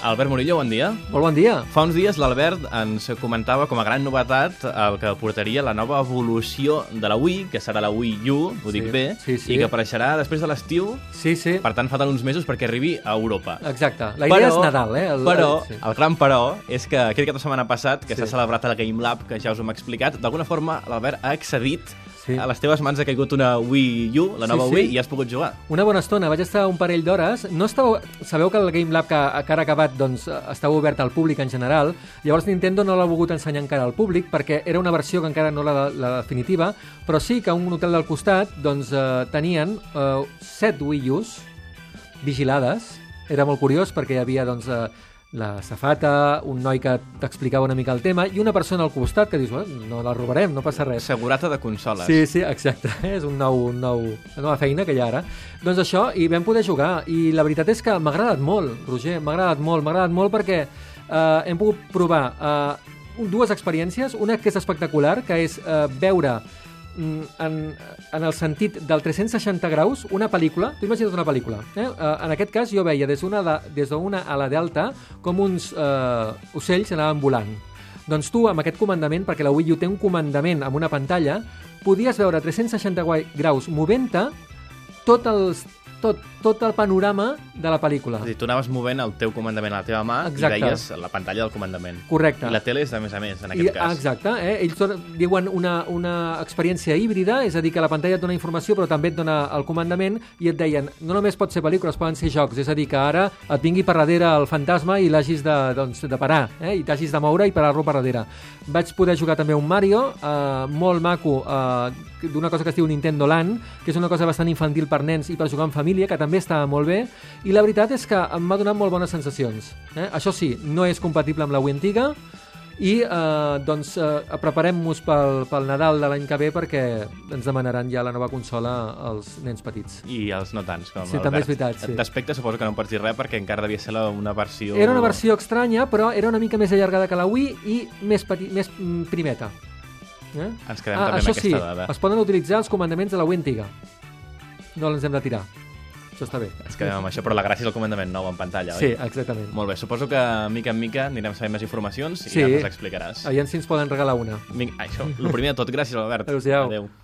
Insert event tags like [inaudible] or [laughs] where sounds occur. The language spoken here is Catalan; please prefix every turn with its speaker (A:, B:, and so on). A: Albert Murillo, bon dia.
B: Molt bon dia.
A: Fa uns dies l'Albert ens comentava com a gran novetat el que portaria la nova evolució de la Wii, que serà la Wii U, ho dic
B: Sí,
A: bé,
B: sí, sí.
A: i que apareixerà després de l'estiu,
B: Sí, sí.
A: per tant falten uns mesos perquè arribi a Europa.
B: Exacte. La idea és Nadal, eh? El,
A: però,
B: el- sí.
A: el gran però, és que aquest cap de setmana passat, que
B: Sí.
A: s'ha celebrat el Game Lab, que ja us hem explicat, d'alguna forma l'Albert ha accedit
B: Sí.
A: a les teves mans ha caigut una Wii U, la
B: Sí,
A: nova
B: sí.
A: Wii, i has pogut jugar.
B: Una bona estona, vaig estar un parell d'hores. No estava... Sabeu que el Game Lab que, que ara ha acabat doncs, eh, estava obert al públic en general, llavors Nintendo no l'ha volgut ensenyar encara al públic perquè era una versió que encara no era la, la definitiva, però sí que a un hotel del costat doncs, eh, tenien eh, set Wii Us vigilades. Era molt curiós perquè hi havia doncs, eh, la safata, un noi que t'explicava una mica el tema i una persona al costat que dius, "Bueno, no la robarem, no passa res.
A: Segurata de consoles.
B: Sí, sí, exacte. [laughs] És un nou, un nou, una nova feina que hi ha ara. Doncs això, i vam poder jugar. I la veritat és que m'ha agradat molt, Roger. M'ha agradat molt, m'ha agradat molt perquè eh, hem pogut provar eh, un- dues experiències. Una que és espectacular, que és eh, veure mm, en, en el sentit del 360 graus, una pel·lícula, tu imagina't una pel·lícula, eh? Eh, en aquest cas jo veia des d'una de- des d'una ala delta com uns eh, ocells anaven volant. Doncs tu, amb aquest comandament, perquè la Wii U té un comandament amb una pantalla, podies veure a 360 guai- graus movent-te tot, els, tot, tot el panorama de la pel·lícula.
A: És a dir, tu anaves movent el teu comandament a la teva mà
B: Exacte.
A: i veies la pantalla del comandament.
B: Correcte.
A: I la tele és de més a més, en aquest
B: I,
A: cas.
B: Exacte, eh? ells donen- diuen una, una experiència híbrida, és a dir, que la pantalla et dona informació però també et dona el comandament i et deien, no només pot ser pel·lícules, poden ser jocs, és a dir, que ara et vingui per darrere el fantasma i l'hagis de, doncs, de parar, eh? i t'hagis de moure i parar-lo per darrere. Vaig poder jugar també un Mario, eh, molt maco, eh, d'una cosa que es diu Nintendo Land, que és una cosa bastant infantil per nens i per jugar en família, que també estava molt bé, i la veritat és que em va donar molt bones sensacions. Eh? Això sí, no és compatible amb la Wii antiga, i eh, doncs eh, preparem-nos pel, pel Nadal de l'any que ve perquè ens demanaran ja la nova consola als nens petits.
A: I els no tants, com
B: Sí,
A: l'Albert.
B: també és veritat, sí.
A: D'aspecte suposo que no em pots dir res perquè encara devia ser la, una versió...
B: Era una versió estranya, però era una mica més allargada que la Wii i més, peti, més mm, primeta. Eh?
A: Ens quedem també amb
B: això
A: aquesta
B: sí,
A: dada.
B: es poden utilitzar els comandaments de la Wii antiga. No els hem de tirar. Això està bé.
A: Ens quedem amb això, però la gràcia és el comandament nou en pantalla,
B: Sí,
A: oi?
B: exactament.
A: Molt bé, suposo que mica en mica anirem sabent més informacions i
B: Sí.
A: ja ens les explicaràs.
B: Aviam si ens poden regalar una.
A: Vinga, això, el primer de tot, gràcies, Albert.
B: Adéu-siau.
A: Adéu.